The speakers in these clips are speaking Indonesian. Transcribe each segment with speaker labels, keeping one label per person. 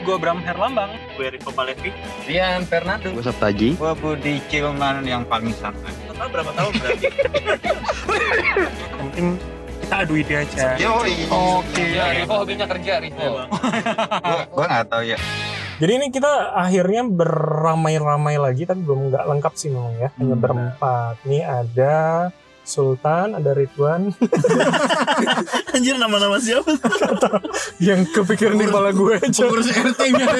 Speaker 1: Gue Bram Herlambang. Gue Rico Palevi.
Speaker 2: Rian Fernando.
Speaker 3: Gue Sabtaji.
Speaker 4: Gue Budi Cilman yang paling santai.
Speaker 1: Total berapa tahun berarti? Mungkin kita adu ide aja.
Speaker 4: Yoi. Nah, eh.
Speaker 2: Oke, ya, Rico hobinya kerja, Rico.
Speaker 4: Gue gue nggak tahu ya.
Speaker 1: Jadi ini kita akhirnya beramai-ramai lagi, tapi belum nggak lengkap sih memang ya. Hanya
Speaker 4: Hmm.
Speaker 1: berempat. Ini ada Sultan, ada Ridwan
Speaker 5: Anjir nama-nama siapa?
Speaker 1: yang kepikiran di kepala gue aja.
Speaker 5: Pengurus RT-nya.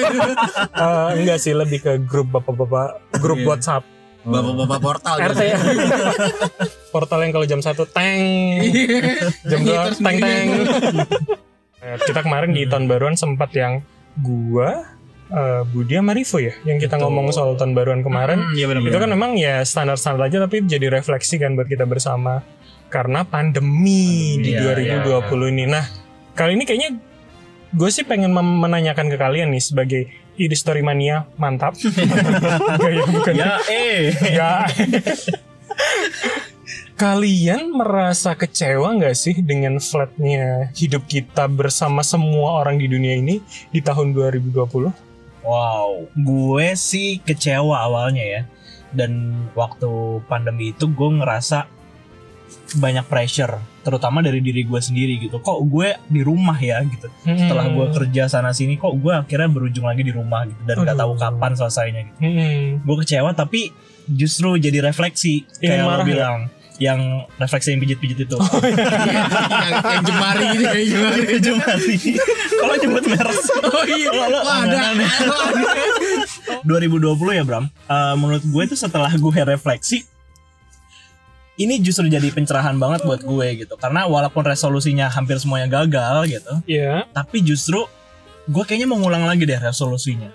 Speaker 1: Eh, enggak sih, lebih ke grup bapak-bapak, grup
Speaker 5: Iya.
Speaker 1: WhatsApp
Speaker 5: Bapak-bapak portal.
Speaker 1: RT
Speaker 6: gitu.
Speaker 1: ya. Portal yang kalau jam 1 teng,
Speaker 5: Iya.
Speaker 1: jam 2 teng teng. Eh, Kita kemarin di tahun baruan sempat yang gua eh, Budi sama Rivo ya yang kita
Speaker 5: Betul.
Speaker 1: ngomong soal tahun baruan kemarin
Speaker 5: Iya benar
Speaker 1: itu kan memang ya standar-standar aja tapi jadi refleksi kan buat kita bersama karena pandemi di
Speaker 5: Iya,
Speaker 1: 2020 ini nah kali ini kayaknya gue sih pengen mem- menanyakan ke kalian nih sebagai ide story mania mantap Gak, ya, bukan.
Speaker 5: Ya eh.
Speaker 1: Ya. Kalian merasa kecewa nggak sih dengan flatnya hidup kita bersama semua orang di dunia ini di tahun 2020?
Speaker 5: Wow. Gue sih kecewa awalnya ya. Dan waktu pandemi itu gue ngerasa banyak pressure, terutama dari diri gue sendiri gitu. Kok gue di rumah ya gitu. Setelah gue
Speaker 1: Hmm.
Speaker 5: kerja sana sini, kok gue akhirnya berujung lagi di rumah gitu. Dan nggak tahu
Speaker 1: Aduh.
Speaker 5: kapan selesainya gitu.
Speaker 1: Mm-mm.
Speaker 5: Gue kecewa tapi justru jadi refleksi
Speaker 1: Yang
Speaker 5: kayak
Speaker 1: marah
Speaker 5: lo
Speaker 1: ya? Oh,
Speaker 5: bilang. Yang refleksi yang pijit-pijit itu.
Speaker 6: yang jemari gitu ya, yang jemari.
Speaker 5: Jemari. Kalau nyebut merek.
Speaker 6: Oh iya.
Speaker 5: Lo- lo-
Speaker 6: Wah, ada.
Speaker 5: aneh-aneh. 2020 ya Bram. Eh, menurut gue itu setelah gue refleksi, ini justru jadi pencerahan banget buat gue gitu. Karena walaupun resolusinya hampir semuanya gagal gitu,
Speaker 1: Ya,
Speaker 5: tapi justru gue kayaknya mau ngulang lagi deh resolusinya.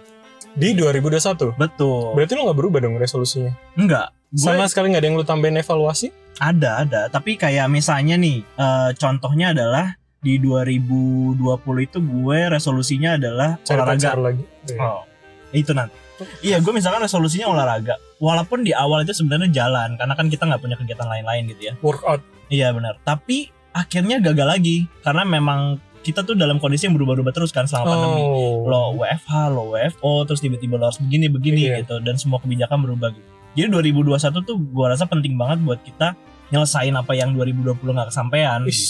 Speaker 1: di 2021.
Speaker 5: Betul.
Speaker 1: Oh. Berarti lo nggak berubah dong resolusinya?
Speaker 5: Enggak. Gue
Speaker 1: Sama sekali nggak ada yang lo tambahin evaluasi?
Speaker 5: ada ada. Tapi kayak misalnya nih, eh, contohnya adalah di 2020 itu gue resolusinya adalah
Speaker 1: Cari
Speaker 5: olahraga.
Speaker 1: pacar lagi. Iya.
Speaker 5: Oh. Itu nanti. Iya, gue misalkan resolusinya olahraga. Walaupun di awal itu sebenarnya jalan, karena kan kita nggak punya kegiatan lain-lain gitu ya.
Speaker 1: Workout.
Speaker 5: Iya benar. Tapi akhirnya gagal lagi, karena memang kita tuh dalam kondisi yang berubah-ubah terus kan selama pandemi.
Speaker 1: Oh.
Speaker 5: Lo WFH, lo WFO, terus tiba-tiba lo harus begini-begini
Speaker 1: Iya.
Speaker 5: gitu, dan semua kebijakan berubah gitu. Jadi 2021 tuh gue rasa penting banget buat kita nyelesain apa yang 2020 nggak kesampaian. gitu.
Speaker 1: Ih,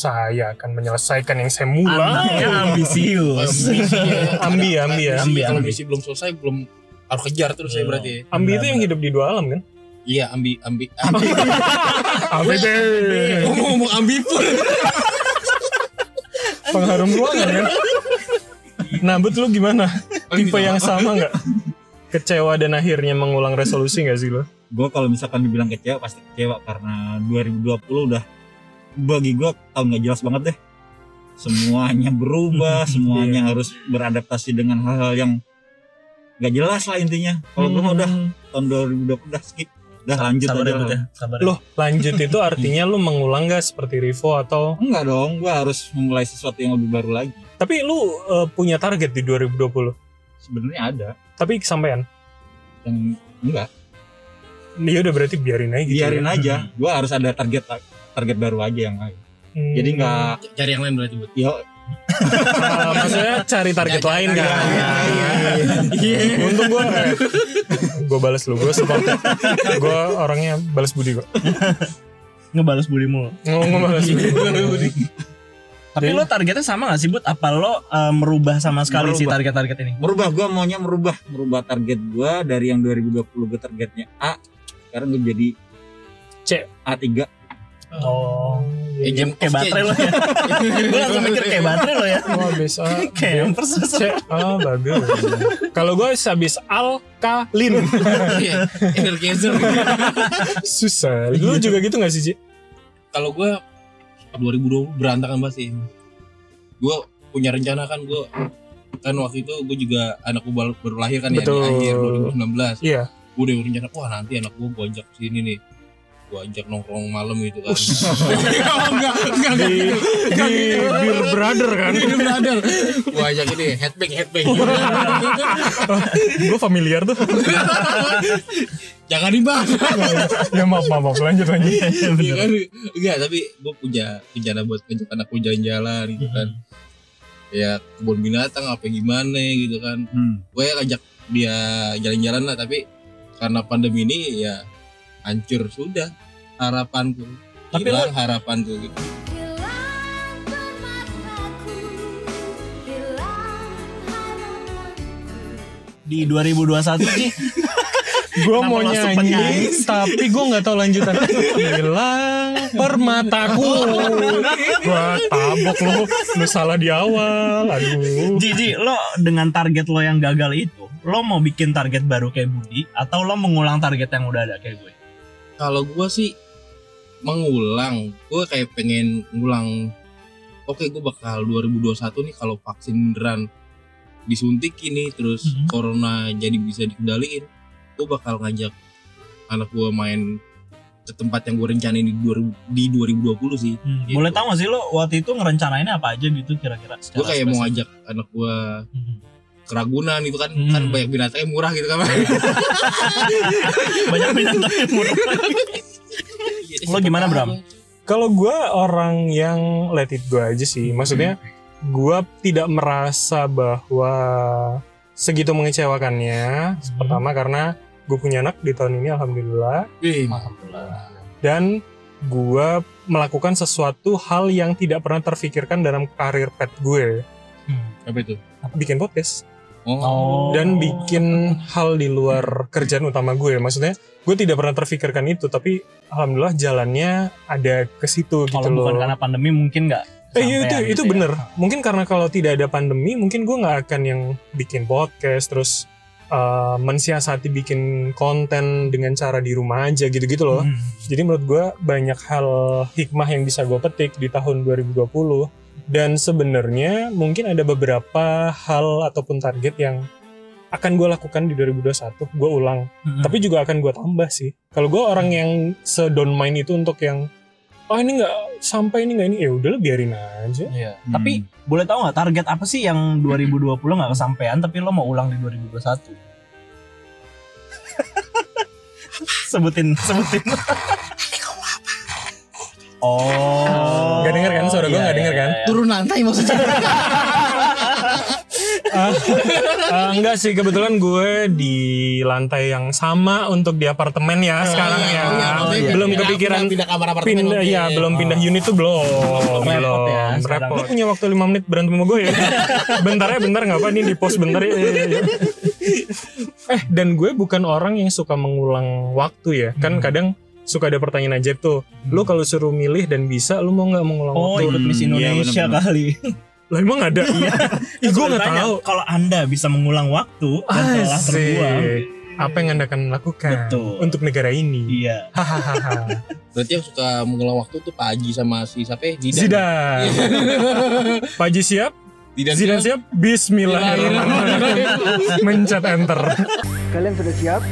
Speaker 1: saya akan menyelesaikan yang saya mulai.
Speaker 5: Anaknya ambisius.
Speaker 1: Ambi, ya, ambi, ya.
Speaker 5: Ambi,
Speaker 6: Kalau
Speaker 5: ambi.
Speaker 6: misi belum selesai belum harus kejar terus ya
Speaker 5: Belum.
Speaker 6: berarti. ya.
Speaker 1: Ambi itu yang hidup di dua alam kan?
Speaker 6: Iya, ambi ambi. ambi.
Speaker 1: Ambi deh.
Speaker 6: Ngomong-ngomong ambipur.
Speaker 1: pengharum ruangan kan nah but lu gimana tipe yang sama nggak kecewa dan akhirnya mengulang resolusi nggak sih lo
Speaker 7: gue kalau misalkan dibilang kecewa pasti kecewa karena 2020 udah bagi gue tahun nggak jelas banget deh semuanya berubah semuanya harus beradaptasi dengan hal-hal yang nggak jelas lah intinya kalau gue udah tahun 2020 udah skip udah lanjut
Speaker 5: Sabar
Speaker 7: aja
Speaker 5: ya, Bud, ya. Sabar ya.
Speaker 1: loh lanjut itu artinya lu mengulang nggak seperti Rivo atau
Speaker 7: enggak dong gue harus memulai sesuatu yang lebih baru lagi
Speaker 1: tapi lu eh, punya target di 2020
Speaker 7: sebenarnya ada
Speaker 1: tapi kesampaian
Speaker 7: yang enggak
Speaker 1: ya udah berarti biarin aja gitu
Speaker 7: biarin
Speaker 1: ya.
Speaker 7: aja gue harus ada target target baru aja yang lain
Speaker 1: Hmm.
Speaker 7: jadi nggak
Speaker 6: Cari yang lain berarti buat.
Speaker 7: ya
Speaker 1: Ah, maksudnya cari target lain kan Iya. untung gue gue balas lu gue support gue orangnya balas budi kok
Speaker 5: Ngebalas bulimu.
Speaker 1: ngomong balas Iya, budi
Speaker 5: Tapi
Speaker 1: Jadi-
Speaker 5: lo targetnya sama gak sih buat apa lo eh, merubah sama sekali si
Speaker 7: Merubah.
Speaker 5: target-target ini?
Speaker 7: merubah gua maunya merubah merubah target gua dari yang 2020 gue targetnya A sekarang gue jadi
Speaker 1: C.
Speaker 7: A3
Speaker 5: Oh.
Speaker 6: Eh, jam
Speaker 5: Kayak baterai lo ya. Gue langsung mikir kayak baterai lo ya.
Speaker 1: Wah, habis A,
Speaker 5: Kayak yang persis.
Speaker 1: C. Ah, bagus. Kalau gue habis alkalin.
Speaker 6: Iya. Energizer.
Speaker 1: Susah. Lu juga gitu gak sih, Ci?
Speaker 6: Kalau gue 2020 berantakan banget sih. Gue punya rencana kan gue kan waktu itu gue juga anak gue baru, baru lahir kan
Speaker 1: Betul.
Speaker 6: ya di akhir 2019
Speaker 1: Iya.
Speaker 6: gue udah rencana wah nanti anak gue gue ajak sini nih gue ajak nongkrong malam gitu kan enggak enggak
Speaker 1: Di, di Beer Brother kan.
Speaker 6: Ini brother. Gua ajak ini headbang headbang.
Speaker 1: gue familiar tuh.
Speaker 6: Jangan dibahas.
Speaker 1: ya maaf, maaf, maaf. Lanjut, lanjut.
Speaker 6: Iya
Speaker 1: Mhm.
Speaker 6: kan? Enggak, tapi gua punya rencana buat ngajak anak gua jalan-jalan gitu kan. ya kebun binatang apa gimana gitu kan
Speaker 7: Hmm.
Speaker 6: gue ajak dia jalan-jalan lah tapi karena pandemi ini ya hancur sudah harapanku
Speaker 5: Tapi
Speaker 6: hilang harapanku gitu
Speaker 3: Hilang bermaknaku, hilang harapanku.
Speaker 5: di 2021 sih
Speaker 1: Gue
Speaker 5: Kenapa
Speaker 1: mau
Speaker 5: langsung
Speaker 1: nyanyi,
Speaker 5: penyanyi?
Speaker 1: tapi gue nggak tahu lanjutan. Hilang permataku. Wah, tabok lu. Lu salah di awal. Aduh.
Speaker 5: Jiji lo dengan target lo yang gagal itu lo mau bikin target baru kayak Budi atau lo mengulang target yang udah ada kayak gue
Speaker 6: kalau gue sih mengulang gue kayak pengen ngulang oke gue bakal 2021 nih kalau vaksin beneran disuntik ini terus
Speaker 5: Mhm.
Speaker 6: corona jadi bisa dikendaliin gue bakal ngajak anak gue main ke tempat yang gue rencanain di, 2000 di 2020 sih Gitu.
Speaker 5: boleh tahu gak sih lo waktu itu ngerencanainnya apa aja gitu kira-kira
Speaker 6: gue
Speaker 5: secara
Speaker 6: kayak mau
Speaker 5: spesifik?
Speaker 6: ngajak anak gue
Speaker 5: Mhm.
Speaker 6: keragunan itu kan
Speaker 5: Hmm.
Speaker 6: kan banyak binatangnya murah gitu kan
Speaker 5: banyak binatang yang murah Lo gimana, Bram?
Speaker 1: Kalau gue orang yang let it go aja sih. Maksudnya gue tidak merasa bahwa segitu mengecewakannya. Pertama karena gue punya anak di tahun ini alhamdulillah.
Speaker 6: Wih,
Speaker 1: dan gua melakukan sesuatu hal yang tidak pernah terfikirkan dalam karir pet gue
Speaker 5: Hmm.
Speaker 6: apa itu
Speaker 1: bikin podcast
Speaker 6: oh,
Speaker 5: Oh.
Speaker 1: dan bikin hal di luar kerjaan utama gue maksudnya gue tidak pernah terfikirkan itu tapi alhamdulillah jalannya ada ke situ gitu
Speaker 5: kalau bukan
Speaker 1: loh
Speaker 5: karena pandemi mungkin nggak
Speaker 1: eh iya, itu
Speaker 5: kesampaian
Speaker 1: itu
Speaker 5: gitu ya.
Speaker 1: bener mungkin karena kalau tidak ada pandemi mungkin gue nggak akan yang bikin podcast terus eh, mensiasati bikin konten dengan cara di rumah aja gitu-gitu loh
Speaker 5: Hmm.
Speaker 1: Jadi menurut gue banyak hal hikmah yang bisa gue petik di tahun 2020 dan sebenarnya mungkin ada beberapa hal ataupun target yang akan gue lakukan di 2021 gue ulang
Speaker 5: Hmm.
Speaker 1: tapi juga akan gue tambah sih kalau gue orang yang sedon main itu untuk yang oh ini nggak sampai ini nggak ini ya udah biarin aja
Speaker 5: Iya.
Speaker 7: hmm.
Speaker 5: Tapi boleh tahu nggak target apa sih yang 2020 nggak kesampaian tapi lo mau ulang di 2021? sebutin, sebutin. Oh, iya,
Speaker 1: Nggak denger kan? Suara gua nggak denger kan?
Speaker 6: turun lantai maksudnya
Speaker 1: Ah, ah, enggak sih kebetulan gue di lantai yang sama untuk di apartemen
Speaker 5: Ah,
Speaker 1: ya sekarang
Speaker 6: iya,
Speaker 5: iya,
Speaker 1: ya
Speaker 6: maksudnya
Speaker 1: belum
Speaker 6: Oh, pindah-
Speaker 1: kepikiran
Speaker 6: pindah- pindah kamar apartemen
Speaker 1: pindah
Speaker 6: oke.
Speaker 1: ya belum
Speaker 6: Oh.
Speaker 1: pindah unit tuh belum
Speaker 5: Repot ya,
Speaker 1: belum
Speaker 5: sekarang.
Speaker 1: repot Lu punya waktu 5 menit berantem sama gue ya bentar ya bentar nggak apa nih di post bentar ya, ya, ya, ya. eh dan gue bukan orang yang suka mengulang waktu ya
Speaker 5: Hmm.
Speaker 1: kan kadang suka ada pertanyaan aja tuh lu kalau suruh milih dan bisa lu mau nggak mengulang
Speaker 5: Oh,
Speaker 1: waktu
Speaker 5: ikut Miss
Speaker 7: Hmm, iya,
Speaker 5: Indonesia
Speaker 7: bener-bener.
Speaker 5: kali.
Speaker 1: lah emang ada iya
Speaker 5: Kan Eh,
Speaker 1: gue nggak
Speaker 5: Tanya,
Speaker 1: tahu
Speaker 5: Kalau Anda bisa mengulang waktu dan Kan telah terbuang.
Speaker 1: Asik. apa yang anda akan lakukan
Speaker 5: Betul.
Speaker 1: untuk negara ini
Speaker 5: Iya.
Speaker 1: hahaha
Speaker 6: berarti yang suka mengulang waktu tuh Pak Haji sama si siapa ya Zidan
Speaker 1: Zidan Pak Haji siap
Speaker 6: Zidan,
Speaker 1: Zidan siap Bismillahirrahmanirrahim mencet enter
Speaker 8: Kalian sudah siap?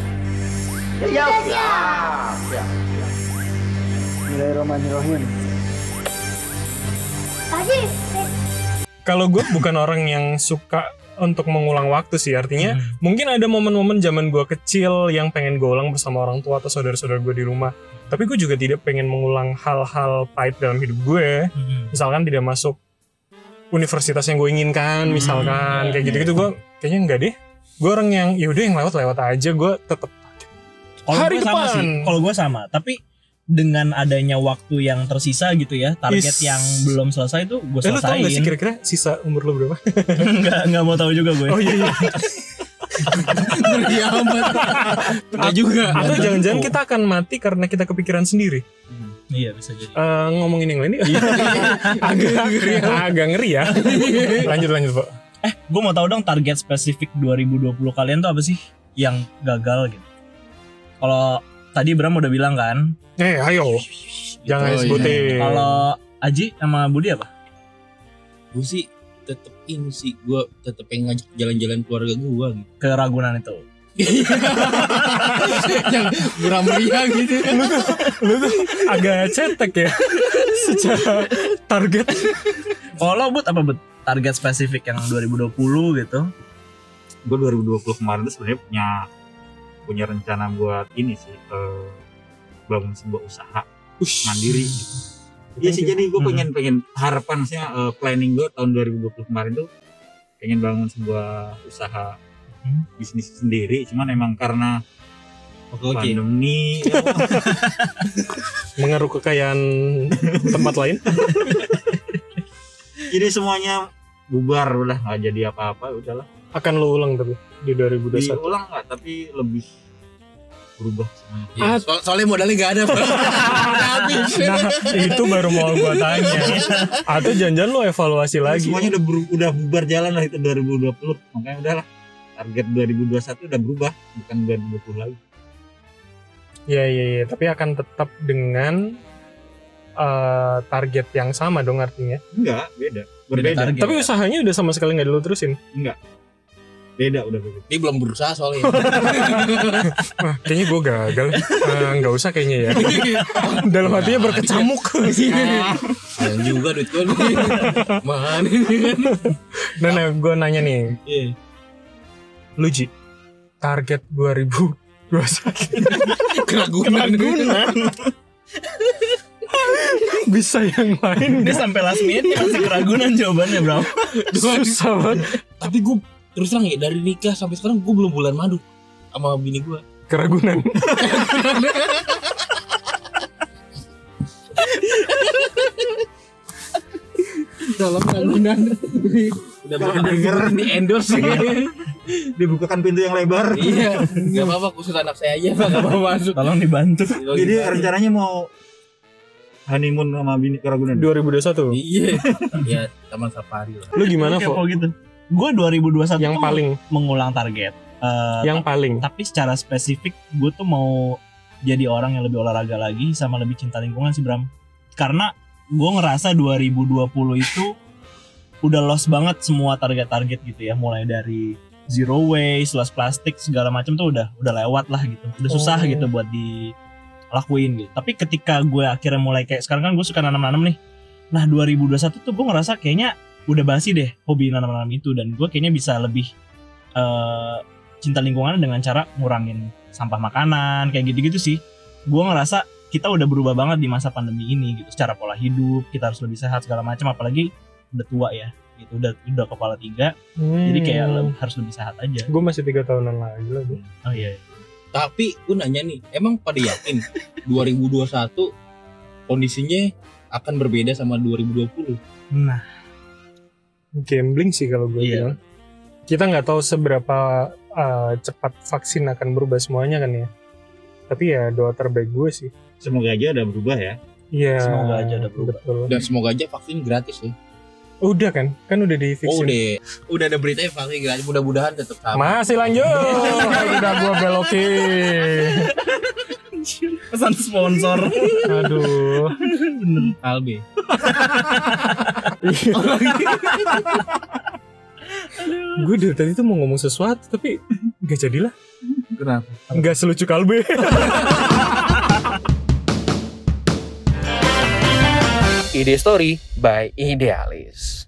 Speaker 8: Ya, siap. Bismillahirrahmanirrahim.
Speaker 3: Tadi
Speaker 1: kalau gue bukan orang yang suka untuk mengulang waktu sih artinya mungkin ada momen-momen zaman gue kecil yang pengen gue ulang bersama orang tua atau saudara-saudara gue di rumah tapi gue juga tidak pengen mengulang hal-hal pahit dalam hidup gue
Speaker 5: Hmm.
Speaker 1: misalkan tidak masuk universitas yang gue inginkan
Speaker 5: Hmm,
Speaker 1: misalkan
Speaker 5: iya,
Speaker 1: kayak
Speaker 5: iya.
Speaker 1: gitu-gitu gue kayaknya enggak deh gue orang yang yaudah yang lewat-lewat aja gue tetap
Speaker 5: Kalau
Speaker 1: Hari
Speaker 5: gue sama
Speaker 1: depan.
Speaker 5: sih, kalau gue sama, tapi dengan adanya waktu yang tersisa gitu ya, target
Speaker 1: Is.
Speaker 5: yang belum selesai itu gue
Speaker 1: eh, lu tau
Speaker 5: selesain.
Speaker 1: gak sih kira-kira sisa umur lu berapa
Speaker 5: Enggak, enggak mau tahu juga gue.
Speaker 1: oh iya iya
Speaker 6: Iya amat Enggak juga
Speaker 1: atau jangan-jangan kita akan mati karena kita kepikiran sendiri
Speaker 5: Iya, bisa jadi.
Speaker 1: Eh, ngomongin yang lain yuk. agak agak ngeri ya lanjut lanjut pak
Speaker 5: Gue mau tahu dong target spesifik 2020 kalian tuh apa sih yang gagal gitu. Kalau tadi Bram udah bilang kan,
Speaker 1: eh ayo jangan
Speaker 6: Gitu,
Speaker 1: sebutin
Speaker 5: kalau Aji sama Budi apa?
Speaker 6: gue sih tetep ini sih gue tetep pengen ngajak jalan-jalan keluarga gue gitu
Speaker 5: Keragunan itu.
Speaker 6: yang murah meriah gitu
Speaker 1: lu tuh agak cetek ya secara target
Speaker 5: Kalau lo, Bud apa Bud? Target spesifik yang 2020 gitu.
Speaker 7: gue 2020 kemarin tuh sebenarnya punya punya rencana buat ini sih eh, bangun sebuah usaha mandiri gitu. Iya sih jadi gue
Speaker 1: Hmm.
Speaker 7: pengen pengen harapan maksudnya eh, planning gue tahun 2020 kemarin tuh pengen bangun sebuah usaha
Speaker 1: Hmm.
Speaker 7: bisnis sendiri cuman emang karena
Speaker 6: Oke oke.
Speaker 7: pandemi ya,
Speaker 1: mengeruk kekayaan tempat lain
Speaker 7: jadi semuanya bubar udah nggak jadi apa-apa udahlah
Speaker 1: akan lo ulang tapi di 2021
Speaker 7: diulang nggak tapi lebih berubah semuanya
Speaker 6: Ya, soal- soalnya modalnya gak ada. Pak. Udah habis.
Speaker 1: Nah, itu baru mau gua tanya. Atau jangan-jangan lo evaluasi lagi.
Speaker 7: semuanya udah beru- udah bubar jalan lah itu 2020 makanya udahlah target 2021 udah berubah bukan 2020 lagi
Speaker 1: Iya, iya, iya. Tapi akan tetap dengan eh, target yang sama dong artinya.
Speaker 7: enggak beda berbeda
Speaker 5: target.
Speaker 1: Tapi usahanya udah sama sekali nggak dulu terusin.
Speaker 7: beda udah beda
Speaker 6: Ini belum berusaha soalnya.
Speaker 1: Wah, Ah, kayaknya gue gagal. Eh, Nggak usah kayaknya ya. Dalam hatinya berkecamuk. Iya.
Speaker 6: Sayang Iya juga duit gue nih. Mana ini kan?
Speaker 1: Dan gue Nah, nanya nih,
Speaker 6: Iya.
Speaker 1: lu Ji, target 2021
Speaker 6: Keragunan.
Speaker 1: bisa yang lain
Speaker 5: Dia sampai last minute dia masih keragunan jawabannya bro.
Speaker 1: susah banget.
Speaker 6: Tapi gue terus terang ya dari nikah sampai sekarang gue belum bulan madu sama bini gue.
Speaker 1: Keragunan.
Speaker 6: Dalam keragunan. Udah
Speaker 7: Kalau
Speaker 6: bukan
Speaker 7: denger. Iya.
Speaker 6: di endorse. ya?
Speaker 7: dibukakan pintu yang lebar
Speaker 6: Iya. Gak apa-apa khusus anak saya aja pak. Gak apa-apa masuk.
Speaker 5: Tolong dibantu.
Speaker 7: Jadi rencananya mau honeymoon sama bini ke Ragunan.
Speaker 1: 2021.
Speaker 6: Iya. Iya. Taman safari lah.
Speaker 1: Lu gimana,
Speaker 5: Kayak
Speaker 1: Fo?
Speaker 5: mau gitu. Gue 2021
Speaker 1: Yang
Speaker 5: tuh
Speaker 1: paling,
Speaker 5: mengulang target. Eh,
Speaker 1: yang paling.
Speaker 5: tapi secara spesifik gue tuh mau jadi orang yang lebih olahraga lagi sama lebih cinta lingkungan sih Bram karena gue ngerasa 2020 itu udah lost banget semua target-target gitu ya mulai dari zero waste, lost plastik segala macam tuh udah udah lewat lah gitu udah susah
Speaker 1: Oh.
Speaker 5: gitu buat dilakuin gitu tapi ketika gue akhirnya mulai kayak sekarang kan gue suka nanam-nanam nih nah 2021 tuh gue ngerasa kayaknya udah basi deh hobi nanam-nanam itu dan gue kayaknya bisa lebih eh, cinta lingkungan dengan cara ngurangin sampah makanan kayak gitu-gitu sih. Gua ngerasa kita udah berubah banget di masa pandemi ini gitu secara pola hidup kita harus lebih sehat segala macam apalagi udah tua ya gitu udah udah kepala tiga jadi kayak le- harus lebih sehat aja
Speaker 1: gue Hmm. masih tiga tahunan lagi lagi
Speaker 5: Hmm. oh iya
Speaker 6: Tapi gue nanya nih, emang pada yakin 2021 kondisinya akan berbeda sama 2020?
Speaker 5: nah
Speaker 1: gambling sih kalau gue
Speaker 5: Iya.
Speaker 1: bilang kita nggak tahu seberapa uh, cepat vaksin akan berubah semuanya kan ya tapi ya doa terbaik gue sih
Speaker 7: Semoga aja ada berubah ya.
Speaker 1: Iya.
Speaker 5: Semoga aja udah berubah.
Speaker 1: betul.
Speaker 6: Dan semoga aja vaksin gratis ya.
Speaker 1: Udah kan? Kan udah di
Speaker 6: Oh
Speaker 7: ya.
Speaker 6: udah, udah ada beritanya vaksin gratis. Mudah-mudahan tetap sama.
Speaker 1: Masih lanjut. udah gue belokin.
Speaker 5: pesan sponsor
Speaker 1: Aduh.
Speaker 6: Kalbe.
Speaker 1: gue dari tadi tuh mau ngomong sesuatu tapi nggak jadilah.
Speaker 6: Kenapa?
Speaker 1: Nggak selucu ya. kalbe.
Speaker 2: Ide story by Idealis.